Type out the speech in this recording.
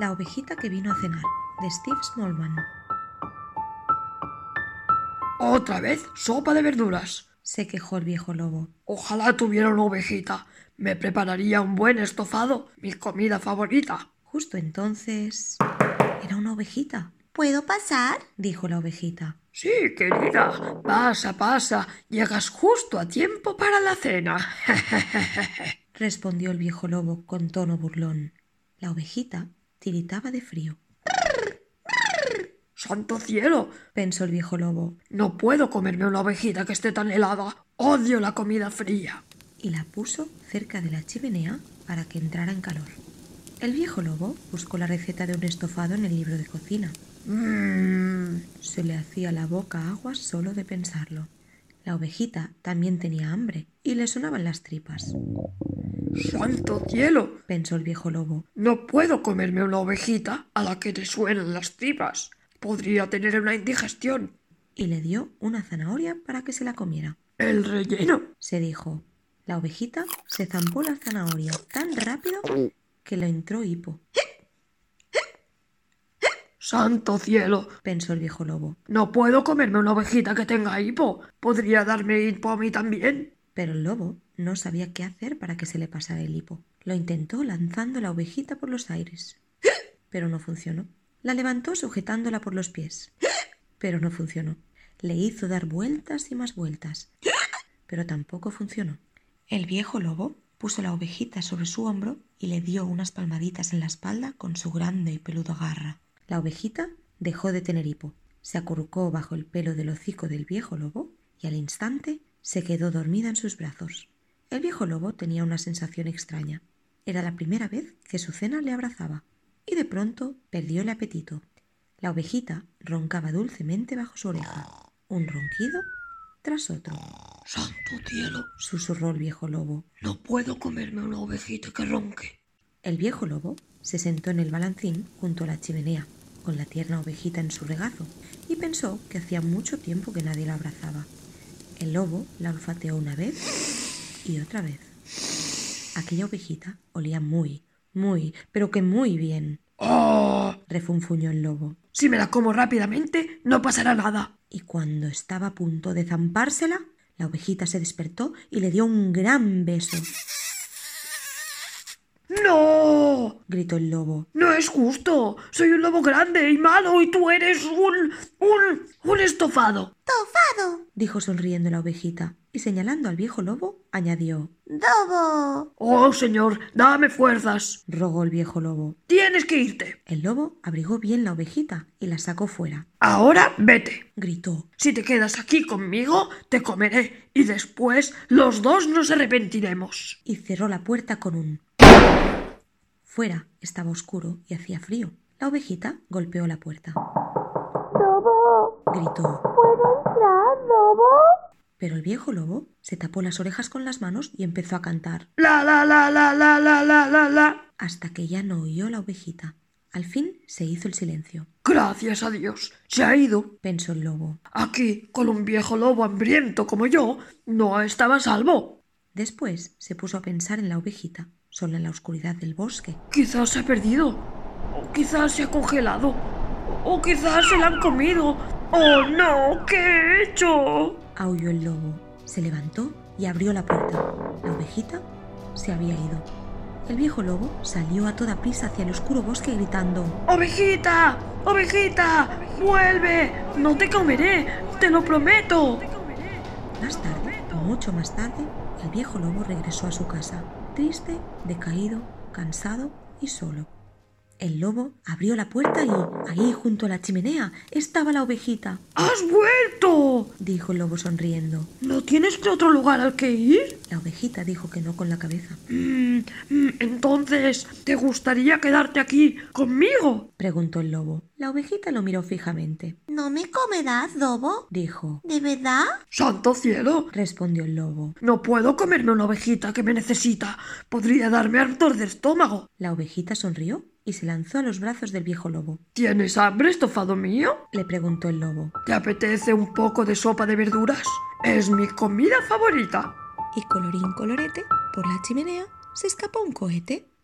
La ovejita que vino a cenar, de Steve Smallman. Otra vez sopa de verduras. Se quejó el viejo lobo. Ojalá tuviera una ovejita. Me prepararía un buen estofado, mi comida favorita. Justo entonces... Era una ovejita. ¿Puedo pasar? dijo la ovejita. Sí, querida. Pasa, pasa. Llegas justo a tiempo para la cena. respondió el viejo lobo con tono burlón. La ovejita tiritaba de frío. Santo cielo, pensó el viejo lobo, no puedo comerme una ovejita que esté tan helada. Odio la comida fría. y la puso cerca de la chimenea para que entrara en calor. El viejo lobo buscó la receta de un estofado en el libro de cocina. Mmm. Se le hacía la boca agua solo de pensarlo. La ovejita también tenía hambre y le sonaban las tripas. Santo cielo, Pensó el viejo lobo, no puedo comerme una ovejita a la que te suenan las tripas. Podría tener una indigestión. y le dio una zanahoria para que se la comiera. El relleno. se dijo. La ovejita se zampó la zanahoria tan rápido que le entró hipo, Santo cielo, pensó el viejo lobo. no puedo comerme una ovejita que tenga hipo. Podría darme hipo a mí también. Pero el lobo no sabía qué hacer para que se le pasara el hipo. Lo intentó lanzando la ovejita por los aires, pero no funcionó. La levantó sujetándola por los pies, pero no funcionó. Le hizo dar vueltas y más vueltas, pero tampoco funcionó. El viejo lobo puso la ovejita sobre su hombro y le dio unas palmaditas en la espalda con su grande y peluda garra. La ovejita dejó de tener hipo, se acurrucó bajo el pelo del hocico del viejo lobo y al instante se quedó dormida en sus brazos. El viejo lobo tenía una sensación extraña. Era la primera vez que su cena le abrazaba y de pronto perdió el apetito. La ovejita roncaba dulcemente bajo su oreja, un ronquido tras otro. Santo cielo, Susurró el viejo lobo. no puedo comerme una ovejita que ronque. El viejo lobo se sentó en el balancín junto a la chimenea, con la tierna ovejita en su regazo, y pensó que hacía mucho tiempo que nadie la abrazaba. El lobo la olfateó una vez y otra vez. Aquella ovejita olía muy, muy, pero que muy bien, ¡Oh! refunfuñó el lobo. Si me la como rápidamente, no pasará nada. Y cuando estaba a punto de zampársela, la ovejita se despertó y le dio un gran beso, ¡No! gritó el lobo. No es justo. Soy un lobo grande y malo y tú eres un... un... un estofado. dijo sonriendo la ovejita, y señalando al viejo lobo, añadió Oh, señor, dame fuerzas. rogó el viejo lobo. Tienes que irte. El lobo abrigó bien la ovejita y la sacó fuera. Ahora vete. Gritó, Si te quedas aquí conmigo, te comeré y después los dos nos arrepentiremos. y cerró la puerta con un... Fuera estaba oscuro y hacía frío. La ovejita golpeó la puerta. Lobo, Gritó, ¿puedo entrar, Lobo? pero el viejo lobo se tapó las orejas con las manos y empezó a cantar, La la la la la la la la la. hasta que ya no oyó la ovejita. Al fin se hizo el silencio. Gracias a Dios. Se ha ido. Pensó el lobo. Aquí, con un viejo lobo hambriento como yo, no estaba a salvo. Después se puso a pensar en la ovejita, sola en la oscuridad del bosque. Quizás se ha perdido. O quizás se ha congelado. O quizás se la han comido. ¡Oh no! ¿Qué he hecho? aulló el lobo. Se levantó y abrió la puerta. La ovejita se había ido. El viejo lobo salió a toda prisa hacia el oscuro bosque gritando. ¡Ovejita! ¡Ovejita! ¡Vuelve! ¡No te comeré! ¡Te lo prometo! Más tarde, mucho más tarde, el viejo lobo regresó a su casa, triste, decaído, cansado y solo. El lobo abrió la puerta y, ahí junto a la chimenea, estaba la ovejita, ¡Has vuelto! dijo el lobo sonriendo. ¿No tienes que otro lugar al que ir? La ovejita dijo que no con la cabeza. Mm, mm, entonces, ¿te gustaría quedarte aquí conmigo? Preguntó el lobo. La ovejita lo miró fijamente. ¿No me comerás, Lobo? Dijo. ¿De verdad? ¡Santo cielo! Respondió el lobo. No puedo comerme una ovejita que me necesita. Podría darme hartos de estómago. La ovejita sonrió y se lanzó a los brazos del viejo lobo. ¿Tienes hambre, estofado mío? Le preguntó el lobo, ¿Te apetece un poco de sopa de verduras? Es mi comida favorita. y colorín colorete, por la chimenea se escapó un cohete.